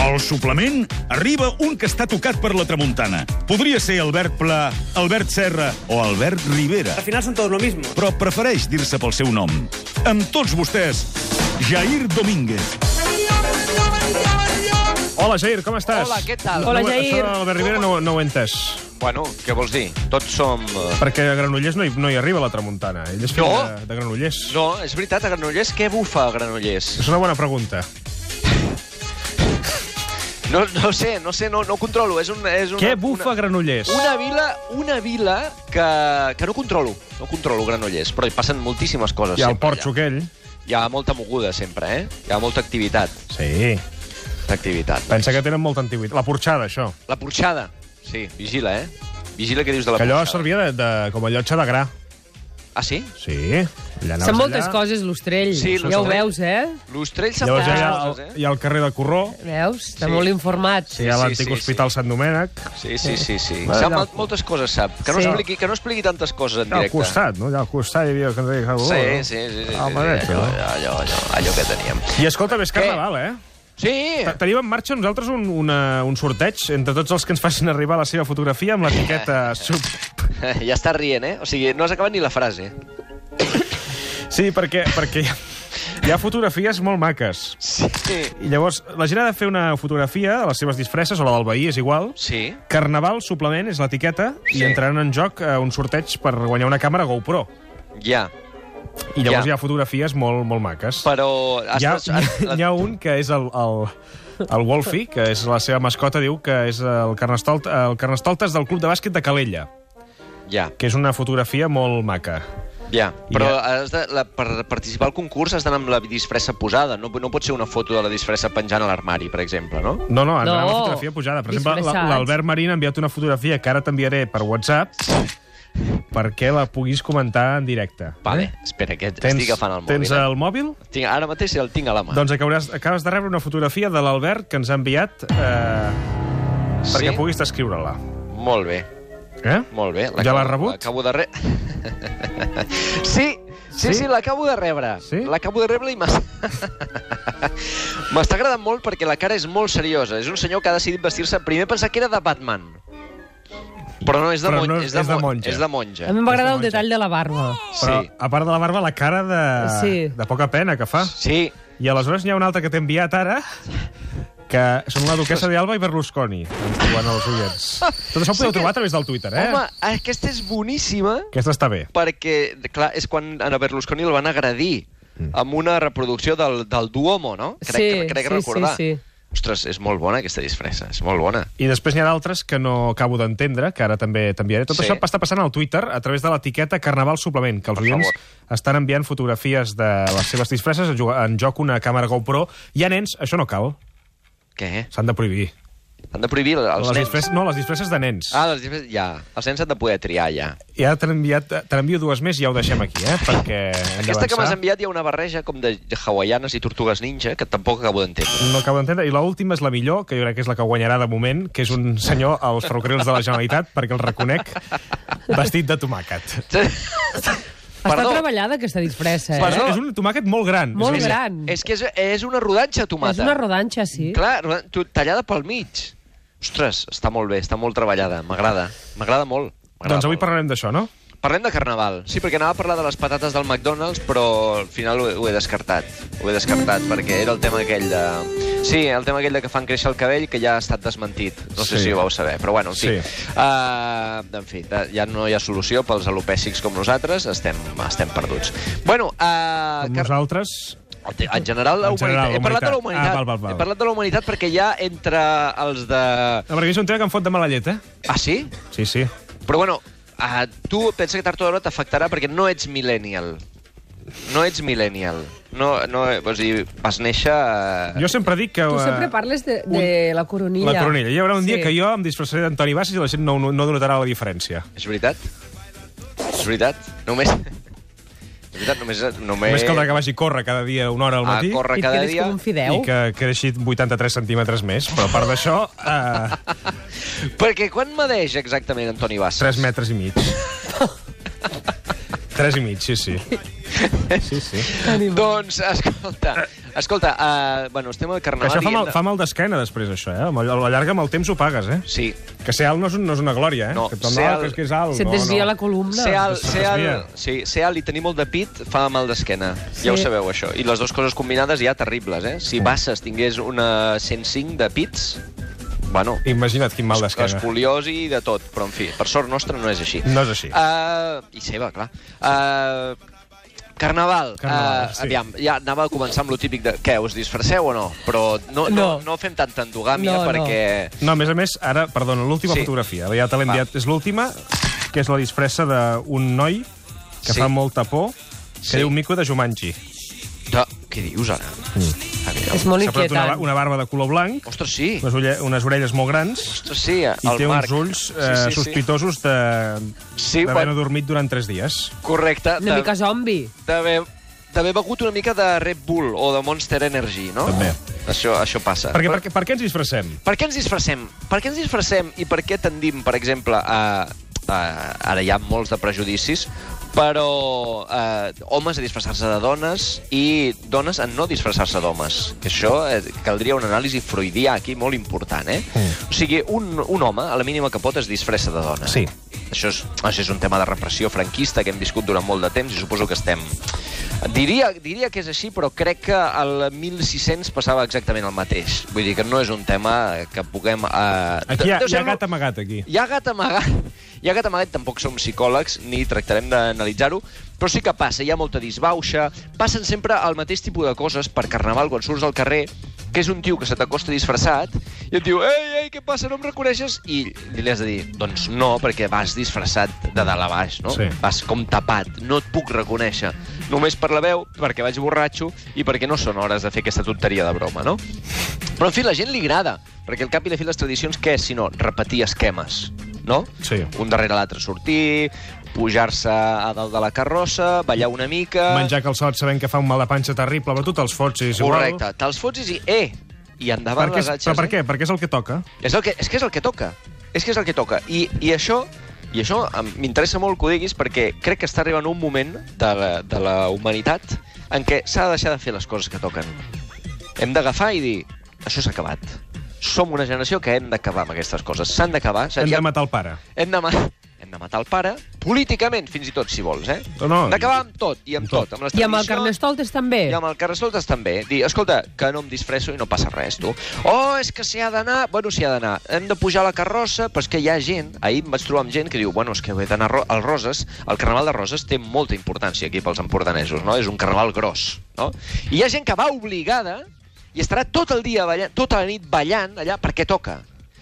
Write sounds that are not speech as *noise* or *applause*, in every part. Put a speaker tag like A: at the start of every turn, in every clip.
A: Al suplement arriba un que està tocat per la tramuntana. Podria ser Albert Pla, Albert Serra o Albert Rivera,
B: Al final son todos lo mismo.
A: però prefereix dir-se pel seu nom. Amb tots vostès, Jair Domínguez.
C: Hola, Jair, com estàs?
D: Hola, què tal?
E: Hola,
C: no,
E: Jair.
C: Això de l'Albert Rivera no, no ho he entès.
D: Bueno, què vols dir? Tots som... eh,
C: Perquè a Granollers no hi, no hi arriba la tramuntana. Ell és fill
D: No.
C: de, de Granollers.
D: No, és veritat, a Granollers què bufa a Granollers?
C: És una bona pregunta.
D: No, no sé, no sé, no, no ho controlo. És un, és una,
C: Què bufa a Granollers?
D: Una, una vila, una vila que, que no controlo. No controlo Granollers, però hi passen moltíssimes coses.
C: Hi ha el
D: sempre
C: porxo aquell.
D: Allà. Hi ha molta moguda sempre, eh? Hi ha molta activitat.
C: Sí.
D: d'activitat.
C: Pensa que tenen molta antiguitat. La porxada, això.
D: La porxada. Sí, vigila, eh? Vigila què dius de la
C: Que allò
D: porxada.
C: servia de, de, com a llotja de gra.
D: Ah, sí?
C: Sí. Allà
E: Són moltes coses, l'Ostrell.
D: Sí,
E: ja ho
D: l'Ostrell.
E: veus, eh?
D: L'Ostrell se'n
C: Llavors
D: fa
C: hi ha,
D: coses, eh?
C: hi ha el carrer de Corró,
E: Veus? Està
D: Sí.
E: molt informat.
C: hi ha
D: sí,
C: l'antic
D: sí,
C: hospital Sant Domènec,
D: Sí, sí, sí. sí.
C: Vale.
D: Sap molt- moltes coses, sap. Que no,
E: Sí.
D: expliqui, que no expliqui tantes coses en
C: allà al
D: directe.
C: costat, no? Allà al costat hi havia el carrer de Corró.
D: Sí, sí,
C: no?
D: sí. sí, sí, sí.
C: Ah, home,
D: allò, allò, allò, allò que teníem.
C: I escolta, és
D: Què?
C: carnaval, eh?
D: Sí! *laughs*
C: Te- Tenim en marxa nosaltres un, una, un sorteig entre tots els que ens facin arribar la seva fotografia amb l'etiqueta... sub...
D: Ja està rient, eh? O sigui, no has acabat ni la frase.
C: Sí, perquè, perquè hi ha, hi ha fotografies molt maques.
D: Sí.
C: I llavors, la gent ha de fer una fotografia de les seves disfresses, o la del veí, és igual.
D: Sí.
C: Carnaval, suplement, és l'etiqueta, i
D: Sí.
C: entraran en joc eh, un sorteig per guanyar una càmera GoPro.
D: Ja.
C: I llavors
D: Ja.
C: hi ha fotografies molt, molt maques.
D: Però...
C: Hi ha,
D: Has, has,
C: *laughs* hi ha un que és el, el, el Wolfie, que és la seva mascota, diu que és el, carnestolt, el Carnestoltes del Club de Bàsquet de Calella,
D: Ja,
C: que és una fotografia molt maca.
D: ja. Però
C: Ja.
D: has de, la, per participar al concurs has d'anar amb la disfressa posada. No, no pot ser una foto de la disfressa penjant a l'armari, per exemple, no?
C: No, no, entrarà no.
E: No.
C: una fotografia pujada. Per exemple, la-
E: Disfressats.
C: l'Albert Marín ha enviat una fotografia que ara t'enviaré per WhatsApp perquè la puguis comentar en directe.
D: Vale, espera, que tens, estic agafant el mòbil.
C: tens
D: eh?
C: el mòbil?
D: Tinc, ara mateix el tinc a la mà.
C: Doncs acabes, acabes de rebre una fotografia de l'Albert que ens ha enviat eh,
D: sí?
C: perquè puguis descriure-la.
D: Molt bé,
C: Eh?
D: molt bé.
C: Ja l'has rebut?
D: L'acabo- L'acabo de re... *laughs* sí, sí,
C: Sí?
D: sí, sí l'acabo de rebre.
C: Sí?
D: L'acabo de rebre i m'està... *laughs* m'està agradant molt perquè la cara és molt seriosa. És un senyor que ha decidit vestir-se... Primer pensar que era de Batman. Però no, és de,
C: Però
D: mon...
C: no,
D: és
C: és
D: de,
C: de
D: mon-
C: monja.
D: És de
E: A
D: monja.
E: mi m'agrada el
C: Aquesta
E: detall de la barba.
C: Però,
D: Sí.
C: a part de la barba, la cara de, sí.
E: Sí.
C: de poca pena que fa.
D: Sí,
C: I aleshores n'hi ha una altra que t'he enviat ara, que són la duquesa d'Alba i Berlusconi, ens diuen els oients. Tot això ho podeu
D: Sí que-
C: trobar a través del Twitter, eh?
D: home, aquesta és boníssima
C: Aquesta està bé.
D: perquè, clar, és quan a Berlusconi el van agredir
C: Mm.
D: amb una reproducció del, del Duomo, no? Crec,
E: Sí,
D: crec
E: sí,
D: recordar.
E: sí, sí.
D: Ostres, és molt bona aquesta disfressa, és molt bona.
C: I després n'hi ha d'altres que no acabo d'entendre, que ara també t'enviaré. Tot
D: Sí.
C: sí. això està passant al Twitter a través de l'etiqueta Carnaval Suplement, que els
D: Per
C: oients
D: favor.
C: estan enviant fotografies de les seves disfresses en jo- en joc una càmera GoPro. Hi ha nens, això no cal,
D: Què?
C: s'han de prohibir.
D: Han de prohibir els
C: les
D: nens.
C: disfresses, no, les disfresses de nens.
D: Ah, les disfresses, ja. Els nens han de poder triar, ja.
C: I ara t'han enviat- te n'envio dues més i ja ho deixem aquí, eh? Perquè hem
D: Aquesta que
C: d'avançar.
D: m'has enviat hi ha una barreja com de hawaianes i tortugues ninja, que tampoc acabo d'entendre.
C: No acabo d'entendre. I l'última és la millor, que jo crec que és la que guanyarà de moment, que és un senyor als ferrocarrils de la Generalitat, perquè el reconec, vestit de tomàquet.
E: Està
D: Perdó.
E: treballada, aquesta disfressa, eh?
C: És, és un tomàquet molt gran.
E: Molt
C: és a dir,
E: gran.
D: *laughs* És que és, és una rodanxa, tomata.
E: Mm. És una rodanxa, sí.
D: Clar, rodan- tu- tallada pel mig. Ostres, està molt bé, està molt treballada, m'agrada. M'agrada molt. m'agrada
C: Doncs avui
D: molt.
C: parlarem d'això, no?
D: Parlem de carnaval. Sí, perquè anava a parlar de les patates del McDonald's, però al final ho he, ho he descartat. Ho he descartat, perquè era el tema aquell de... Sí, el tema aquell de que fan créixer el cabell, que ja ha estat desmentit. No sé
C: Sí.
D: si ho vau saber, però bueno, en fi.
C: Sí.
D: Uh, en fi, de- ja no hi ha solució pels alopècics com nosaltres, estem, estem perduts. Bueno, uh,
E: Ah,
C: Amb nosaltres...
D: en general, la
C: En
D: humanitat.
C: general, la
D: He parlat de
C: humanitat.
D: la humanitat.
C: Ah, val, val, val.
D: He parlat de la humanitat perquè ja entre els de...
C: No, perquè és un tema que em fot de mala llet, eh?
D: Ah, sí?
C: Sí, sí.
D: Però bueno, uh, tu pensa que tard o d'hora t'afectarà perquè no ets millennial. No ets millennial. No, no, o sigui, vas néixer... eh,
C: Jo sempre dic que...
E: Tu
C: eh,
E: sempre parles de, de la coronilla.
C: La coronilla. Hi haurà un
E: Sí.
C: dia que jo em disfressaré d'Antoni Bassas i la gent no, no, no notarà la diferència.
D: És veritat? És veritat? Només... És veritat, només... Només,
C: Només caldrà que vagi a córrer cada dia una hora al matí.
D: a córrer
E: I et
D: cada
E: quedes
D: dia.
E: com un
C: i
E: fideu.
C: que creixi 83 centímetres més, però a part d'això, eh,
D: Perquè quan medeix
E: *laughs*
D: exactament Antoni Bassa?
C: 3 metres i mig. 3 i mig, sí, sí. Sí, sí.
D: doncs, escolta, escolta, uh, bueno, estem al
C: Que
D: carnaval...
C: això fa
D: i hem
C: mal,
D: de-
C: fa mal d'esquena després, això, eh? Amb el- A la llarga amb el temps ho pagues, eh?
D: Sí,
C: Que ser alt no és, un, no és una glòria, eh?
D: No,
C: que tothom,
D: ser
C: no,
D: alt-
C: que és que és alt.
E: Si et
C: no,
E: desvia
C: no.
E: la columna...
D: ser alt,
C: es
D: ser
C: desvia.
D: alt, sí, ser alt i tenir molt de pit fa mal d'esquena.
E: Sí.
D: Ja ho sabeu, això. I les dues coses combinades ja terribles, eh? Si Basses tingués una 105 de pits, bueno,
C: Imagina't quin mal d'esquena.
D: escoliosi i de tot. Però, en fi, per sort nostra no és així.
C: No és així.
D: Uh, I seva, clar. Uh, Carnaval.
C: Carnaval,
D: eh,
C: sí.
D: Aviam, ja anava a començar amb lo típic de... Què, us disfresseu o no? Però no, no,
E: No.
D: no fem tanta endogàmia
E: No, no.
D: perquè...
C: No, a més a més, ara, perdona, l'última
D: Sí.
C: sí. fotografia, ja te l'he enviat, és l'última, que és la disfressa d'un noi que
D: Sí.
C: sí. fa molta por, que
D: Sí.
C: sí. diu Mico de Jumanji.
D: No. Què dius, ara? Mm. Aviam.
E: És molt
C: S'ha posat una,
E: inquietant.
C: ba- una barba de color blanc,
D: Ostres, sí.
C: unes, ulle, unes orelles molt grans,
D: Ostres, sí,
C: i
D: el
C: té
D: Marc.
C: uns ulls eh, sí, sí, sospitosos de
D: Sí,
C: d'haver
D: quan-
C: no dormit durant tres dies.
D: Correcte.
E: Una
D: de-
E: mica zombi.
D: D'haver d'haver begut una mica de Red Bull o de Monster Energy, no?
C: També.
D: Això, això passa.
C: Perquè, per, què- per què ens disfressem?
D: Per què ens disfressem? Per què ens disfressem i per què tendim, per exemple, a... a ara hi ha molts de prejudicis, però eh, homes a disfressar-se de dones i dones a no disfressar-se d'homes. Que Això eh, caldria un anàlisi freudià aquí molt important, eh?
C: Mm.
D: O sigui, un, un home, a la mínima que pot, es disfressa de dona. eh?
C: Sí.
D: Això és, això és un tema de repressió franquista que hem viscut durant molt de temps i suposo que estem... Diria, diria que és així, però crec que al 1600 passava exactament el mateix. Vull dir que no és un tema que puguem... Eh,
C: Aquí hi ha,
D: deu
C: hi
D: ser
C: ha
D: un-
C: gat amagat, aquí.
D: hi ha gat amagat. Hi ha gat amagat, tampoc som psicòlegs, ni tractarem d'analitzar-ho, però sí que passa, hi ha molta disbauxa, passen sempre el mateix tipus de coses per Carnaval, quan surts al carrer, que és un tio que se t'acosta disfressat i et diu, ei, ei, què passa, no em reconeixes? I li has de dir, doncs no, perquè vas disfressat de dalt a baix, no?
C: Sí.
D: Vas com tapat, no et puc reconèixer. Només per la veu, perquè vaig borratxo i perquè no són hores de fer aquesta tonteria de broma, no? Però, en fi, la gent li agrada, perquè al cap i la fi les tradicions, què és, sinó repetir esquemes, no?
C: Sí.
D: Un darrere l'altre sortir, pujar-se a dalt de la carrossa, ballar una mica...
C: Menjar calçots sabent que fa un mal de panxa terrible, però tu te'ls fots i és igual.
D: Correcte, te'ls fotis i... Eh! I
C: Per
D: endavant
C: què,
D: les atxes.
C: però per
D: eh?
C: què? Perquè és el que toca.
D: És, el que, és que és el que toca. És que és el que toca. I, i això i això em- m'interessa molt que ho diguis perquè crec que està arribant un moment de la, de la humanitat en què s'ha de deixar de fer les coses que toquen. Hem d'agafar i dir, això s'ha acabat. Som una generació que hem d'acabar amb aquestes coses. S'han d'acabar.
C: Hem
D: ja-
C: de matar el pare.
D: hem de, ma- hem de matar el pare, políticament, fins i tot, si vols, eh?
C: No, no.
D: D'acabar amb tot, i amb
C: Amb tot.
D: tot. Amb les
E: I amb el
D: tradicions,
E: Carnestoltes també.
D: i amb el Carnestoltes també. Dir, escolta, que no em disfresso i no passa res, tu. Oh, és que s'hi ha d'anar... Bueno, s'hi ha d'anar. Hem de pujar a la carrossa, però és que hi ha gent... Ahir em vaig trobar amb gent que diu, bueno, és que he d'anar ro- al Roses. El Carnaval de Roses té molta importància aquí pels empordanesos, no? És un carnaval gros, no? I hi ha gent que va obligada i estarà tot el dia ballant, tota la nit ballant allà perquè toca.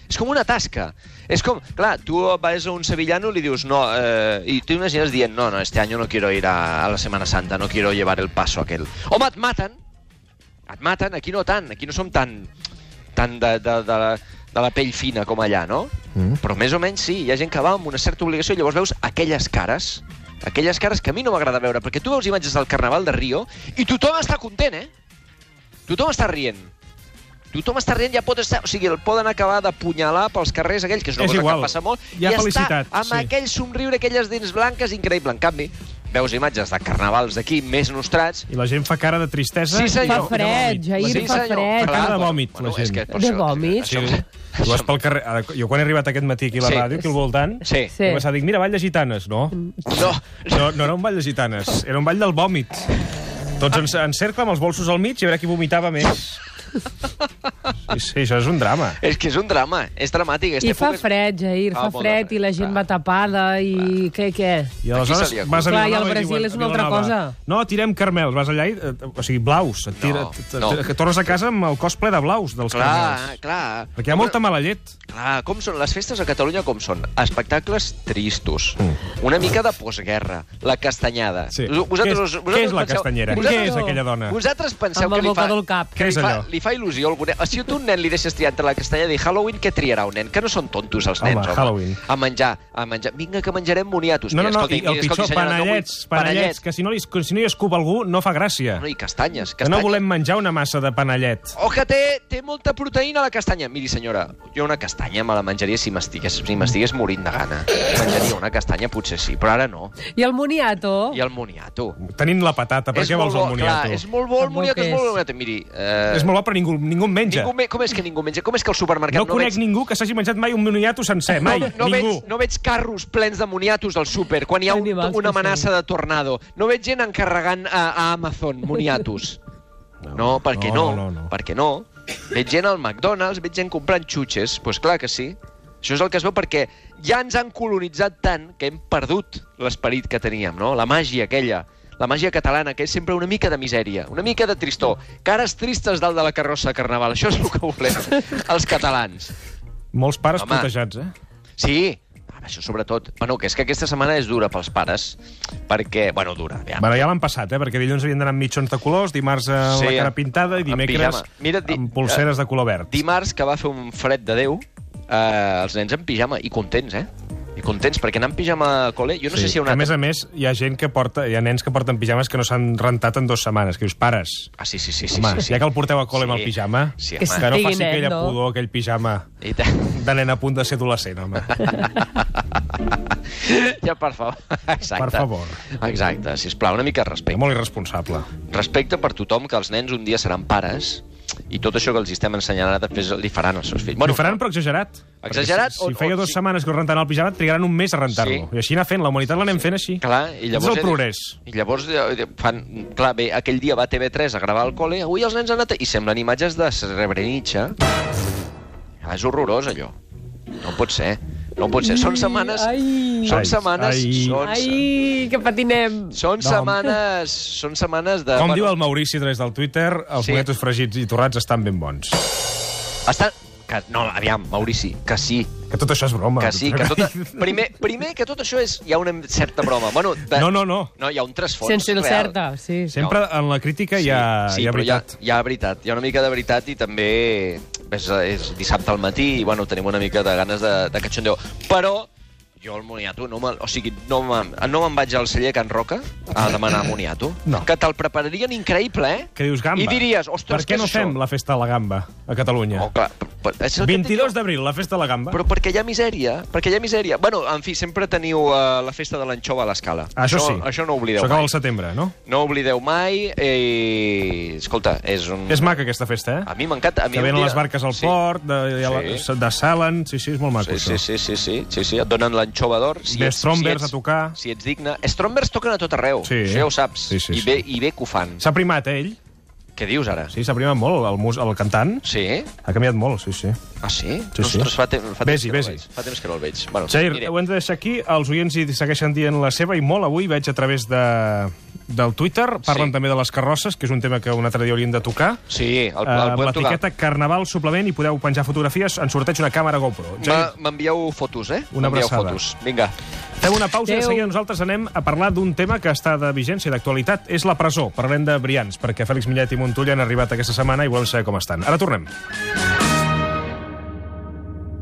D: És com una tasca. És com, clar, tu vas a un sevillano i li dius no, eh, i tu imagines dient no, no, este año no quiero ir a, a la Semana Santa, no quiero llevar el paso aquel. Home, et maten, et maten, aquí no tant, aquí no som tan, tan de, de, de, la, de la pell fina com allà, no? Mm. Però més o menys sí, hi ha gent que va amb una certa obligació i llavors veus aquelles cares, aquelles cares que a mi no m'agrada veure, perquè tu veus imatges del Carnaval de Rio i tothom està content, eh? Tothom està rient. Tothom està rient, ja pot estar... O sigui, el poden acabar d'apunyalar pels carrers aquells, que és una
C: És
D: cosa
C: igual.
D: que passa molt.
C: Hi ha
D: i
C: felicitat,
D: està amb
C: sí.
D: aquell somriure, aquelles dents blanques, increïble. En canvi, veus imatges de carnavals d'aquí més nostrats
C: I la gent fa cara de tristesa.
D: Sí,
C: i-
D: senyor.
E: Fa fred,
C: i-
E: Jair,
C: Sí,
E: fa
C: senyor.
E: fred.
C: Fa cara de
D: Clar,
C: vòmit, la
D: és
C: gent.
D: que per
E: De
D: això-
E: vòmit?
D: això-
C: Sí. Tu vas pel carrer... ara, Jo quan he arribat aquest matí aquí a la
D: Sí.
C: ràdio, aquí al voltant,
D: Sí.
E: Sí.
C: he pensat, dic, mira, ball de gitanes, no?
D: No,
C: No, no era un ball de gitanes, era un ball del vòmit. Tots en, en cercle amb els bolsos al mig i a veure qui vomitava més. Sí, sí, això és un drama.
D: és que és un drama, és dramàtic.
E: I
D: Aquesta
E: fa
D: època és-
E: fred, Jair,
D: Fa
E: fa
D: molt de
E: fred,
D: fred,
E: i la gent
D: clar.
E: va tapada, i què, què?
C: I
D: Aquí
C: aleshores
D: se li acut.
C: vas a
E: Clar, i
C: Vilanova
E: el Brasil
C: diuen,
E: és una altra
C: Vilanova,
E: cosa.
C: No, tirem carmels. Vas allà i... eh, O sigui, blaus. Et tira,
D: No,
C: t- t-
D: no.
C: Que tornes a casa amb el cos ple de blaus dels
D: Clar,
C: carmels.
D: clar.
C: Perquè hi ha molta mala llet.
D: Clar, Ah, com són les festes a Catalunya com són? Espectacles tristos, una mica de postguerra, la castanyada.
C: Mm. Sí.
D: Vosaltres,
C: Què és-
D: vosaltres
C: què és la
D: penseu-
C: castanyera?
D: Vosaltres,
C: Què és aquella dona?
D: Vosaltres penseu
E: Amb
D: que
E: el
D: li fa...
E: bocador al cap.
C: Què és
D: li fa,
C: allò?
D: li fa il·lusió alguna... O sigui, tu tu un nen li deixes triar entre la castellada i Halloween, què triarà un nen? Que no són tontos els
C: Home,
D: nens, home.
C: Halloween.
D: A menjar, a menjar. Vinga, que menjarem boniatos.
C: No, no,
D: Mira,
C: no,
D: escolta,
C: i el
D: mira, escolta,
C: pitjor,
D: senyora, no vull-
C: panellets, panellets, que si no, li, que si no hi escup algú no fa gràcia.
D: No, i castanyes,
C: Que
D: castanyes.
C: no volem menjar una massa de panellet.
D: O que té, té molta proteïna la castanya. Miri, senyora, jo una castanya me la menjaria si m'estigués si m'estigués morint de gana. Menjaria una castanya, potser sí, però ara no.
E: I el moniato?
D: I el moniato.
C: Tenim la patata, per
D: És
C: què
D: molt
C: vols el
D: bo,
C: moniato?
D: Clar, és molt bo el
E: Tampoc
D: moniato, és
E: és.
D: molt bo el moniato. Miri, eh,
C: és molt bo, però ningú, ningú en menja.
D: ningú, me- com és que ningú menja? Com és que al supermercat
C: No
D: no,
C: conec
D: veig...
C: ningú que s'hagi menjat mai un moniato sencer, mai,
D: no,
C: ningú.
D: veig, no veig carros plens de moniatos al súper quan hi ha un,
E: Animals
D: una
E: que
D: amenaça de tornado. No veig gent encarregant a, a Amazon moniatos. No, perquè no,
C: No, no, no.
D: perquè no. Veig gent al McDonald's, veig gent comprant xutxes. Doncs pues clar que sí. Això és el que es veu perquè ja ens han colonitzat tant que hem perdut l'esperit que teníem, no? La màgia aquella, la màgia catalana, que és sempre una mica de misèria, una mica de tristor. Cares tristes dalt de la carrossa de Carnaval, això és el que volem, els catalans.
C: Molts pares
D: Home.
C: protejats, eh?
D: Sí, Ah, això sobretot. Bueno, que és que aquesta setmana és dura pels pares, perquè... Bueno, dura, aviam.
C: Bueno, ja l'han passat, eh? Perquè dilluns havien d'anar amb mitjons de colors, dimarts amb
D: Sí,
C: la cara
D: amb-
C: pintada i
D: amb
C: dimecres
D: pijama. Mira, di-
C: amb polseres de color verd.
D: Dimarts, que va fer un fred de Déu, eh, els nens en pijama, i contents, eh? I contents, perquè anar en pijama a col·le... Jo no sé si hi ha una...
C: A més a més, hi ha gent que porta, hi ha nens que porten pijames que no s'han rentat en dues setmanes, que dius, pares,
D: Ah, sí, sí, sí, sí,
C: home,
D: sí, sí.
C: ja que el porteu a col·le amb
D: Sí.
C: el pijama,
D: Sí,
E: Que
D: home.
C: que no faci
E: Dignet,
C: aquella
E: no?
C: pudor, aquell pijama
D: I tant. *laughs*
C: de nen a punt de ser adolescent, home.
D: ja, per favor. Exacte.
C: Per favor.
D: Exacte, sisplau, una mica de respecte.
C: Molt irresponsable.
D: respecte per tothom que els nens un dia seran pares i tot això que els estem ensenyant ara després li faran als seus fills.
C: Bueno, Ho faran, però exagerat.
D: Exagerat
C: Perquè Si,
D: o-
C: si feia
D: o-
C: dues
D: sí.
C: setmanes que el rentaran el pijama, trigaran un mes a rentar-lo.
D: Sí.
C: I així anar fent, la humanitat l'anem fent així.
D: Clar, i llavors...
C: És el progrés.
D: I llavors eh, fan... Clar, bé, aquell dia va a TV3 a gravar al col·le, avui els nens han anat... I semblen imatges de Srebrenica. Ah, és horrorós, allò. No pot ser. No pot ser. Són setmanes...
E: Ai,
D: Són
C: Ai,
D: setmanes...
C: ai.
D: Són,
E: ai que patinem.
D: són
C: No.
D: setmanes... Són setmanes de...
C: Com diu el Maurici a través del Twitter, els
D: Eh, Sí.
C: sí. moniatos fregits i torrats estan ben bons.
D: Està... Que, no, aviam, Maurici, que sí,
C: Que tot això és broma.
D: Que sí, que tot... Primer, primer que tot això és... Hi ha una certa broma. Bueno, de...
C: No, no, no.
D: No, hi ha un trasfons
E: Sense el
D: real.
E: certa, sí.
C: *laughs* Sempre en la crítica hi ha,
D: tota- sí,
C: hi ha
D: però
C: veritat.
D: Hi ha, hi ha veritat. Hi ha una mica de veritat i també és, és dissabte al matí i bueno, tenim una mica de ganes de, de catxondeo. Però jo el moniato no me'l... O sigui, no me'n no me'n vaig al celler Can Roca a demanar moniato.
C: Ah. No.
D: Que te'l prepararien increïble, eh?
C: Que dius gamba.
D: I diries, ostres,
C: per què
D: és
C: no
D: això?
C: fem la festa de la gamba a Catalunya?
D: Oh, clar, però, però, és el que et dic jo.
C: 22 d'abril, la festa de la gamba.
D: Però perquè hi ha misèria, perquè hi ha misèria. Bueno, en fi, sempre teniu uh, la festa de l'anxova a l'escala.
C: Ah, això, sí.
D: Això no ho oblideu
C: Això acaba
D: mai.
C: al setembre, no?
D: No ho oblideu mai. Eh... Escolta, és un...
C: És maca aquesta festa, eh?
D: A mi m'encanta. a mi
C: Que
D: un
C: venen
D: dia-
C: les barques al
D: sí.
C: port, de, de,
D: Sí.
C: de salen... Sí, sí, és molt maco,
D: Sí, sí,
C: això.
D: sí, sí, sí, sí, sí, et donen l'anxova d'or. Si
C: Ve
D: ets-
C: Strombers
D: si
C: a
D: ets,
C: tocar.
D: Si ets digne. Strombers toquen a tot arreu,
C: Sí.
D: això ja ho saps.
C: Sí, sí,
D: I,
C: sí.
D: bé, I bé que ho fan.
C: S'ha primat, eh, ell?
D: Què dius ara?
C: Sí, s'ha primat molt, el, mus, el cantant.
D: Sí?
C: Ha canviat molt, sí, sí.
D: Ah, sí?
C: Sí, sí.
D: Ostres, fa, te fa temps
C: Vés-hi,
D: que no el
C: vés-hi.
D: veig. Fa temps que no el veig. Bueno,
C: Jair,
D: mira,
C: ho hem de deixar aquí. Els oients hi segueixen dient la seva i molt avui veig a través de, del Twitter. Parlen
D: Sí.
C: també de les carrosses, que és un tema que un altre dia hauríem de tocar.
D: Sí,
C: Eh,
D: el, el podem tocar.
C: L'etiqueta Carnaval Suplement i podeu penjar fotografies. En sorteig una càmera GoPro. Jair,
D: Ma- M'envieu fotos, eh?
C: Una
D: M'envieu
C: abraçada.
D: fotos. Vinga.
C: fem una pausa i de
E: Adéu.
C: seguida nosaltres anem a parlar d'un tema que està de vigència, d'actualitat. És la presó. Parlem de Brians, perquè Fèlix Millet i Montull han arribat aquesta setmana i volem saber com estan. Ara tornem.